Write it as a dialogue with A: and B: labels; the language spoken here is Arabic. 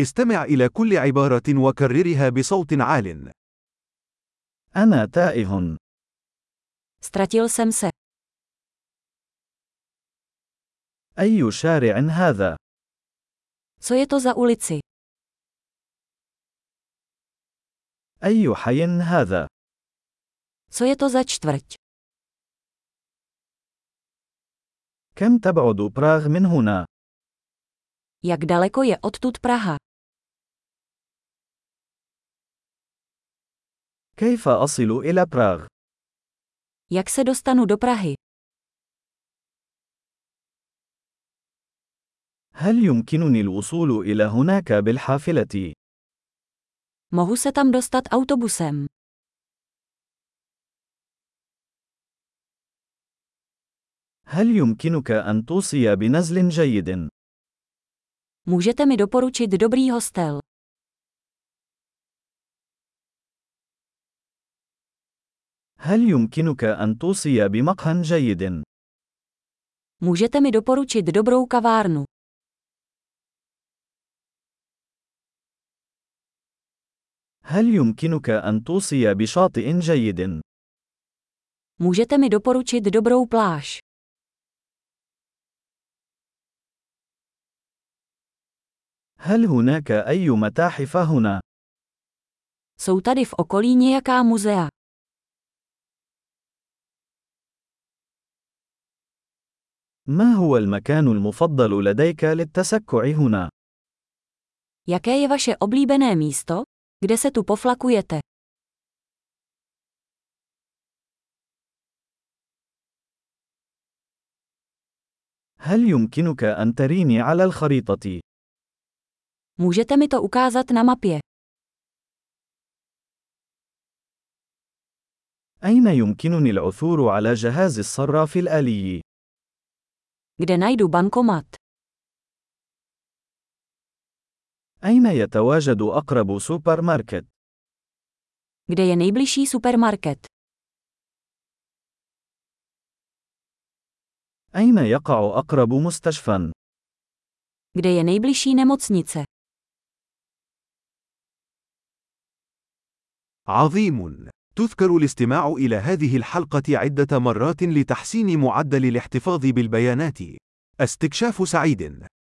A: استمع إلى كل عبارة وكررها بصوت عال.
B: أنا تائه.
C: Ztratil jsem se.
B: أي شارع هذا؟
C: Co je to za ulici?
B: أي حي هذا؟
C: Co je to za čtvrť?
B: كم تبعد براغ من هنا؟
C: Jak daleko je odtud Praha?
B: كيف أصل إلى براغ؟
C: Jak se dostanu do Prahy?
B: هل يمكنني الوصول إلى هناك بالحافلة؟
C: Mohu se tam dostat autobusem.
B: هل يمكنك أن توصي بنزل جيد؟
C: Můžete mi doporučit dobrý hostel.
B: هل يمكنك أن توصي بمقهى جيد؟
C: Můžete mi doporučit dobrou kavárnu.
B: هل يمكنك أن توصي بشاطئ جيد؟
C: Můžete mi doporučit dobrou pláž.
B: هل هناك أي متاحف هنا؟
C: Jsou tady v okolí nějaká muzea.
B: ما هو المكان المفضل لديك للتسكع هنا؟
C: Jaké je vaše oblíbené místo, kde se tu poflakujete?
B: هل يمكنك أن تريني على الخريطة؟
C: Můžete mi to ukázat na mapě.
B: أين يمكنني العثور على جهاز الصراف الآلي؟
C: Kde najdu bankomat?
B: أين يتواجد أقرب سوبر ماركت؟
C: Kde je nejbližší supermarket?
B: أين يقع أقرب مستشفى؟
C: Kde je nejbližší nemocnice?
A: عظيم! تذكر الاستماع إلى هذه الحلقة عدة مرات لتحسين معدل الاحتفاظ بالبيانات. استكشاف سعيد!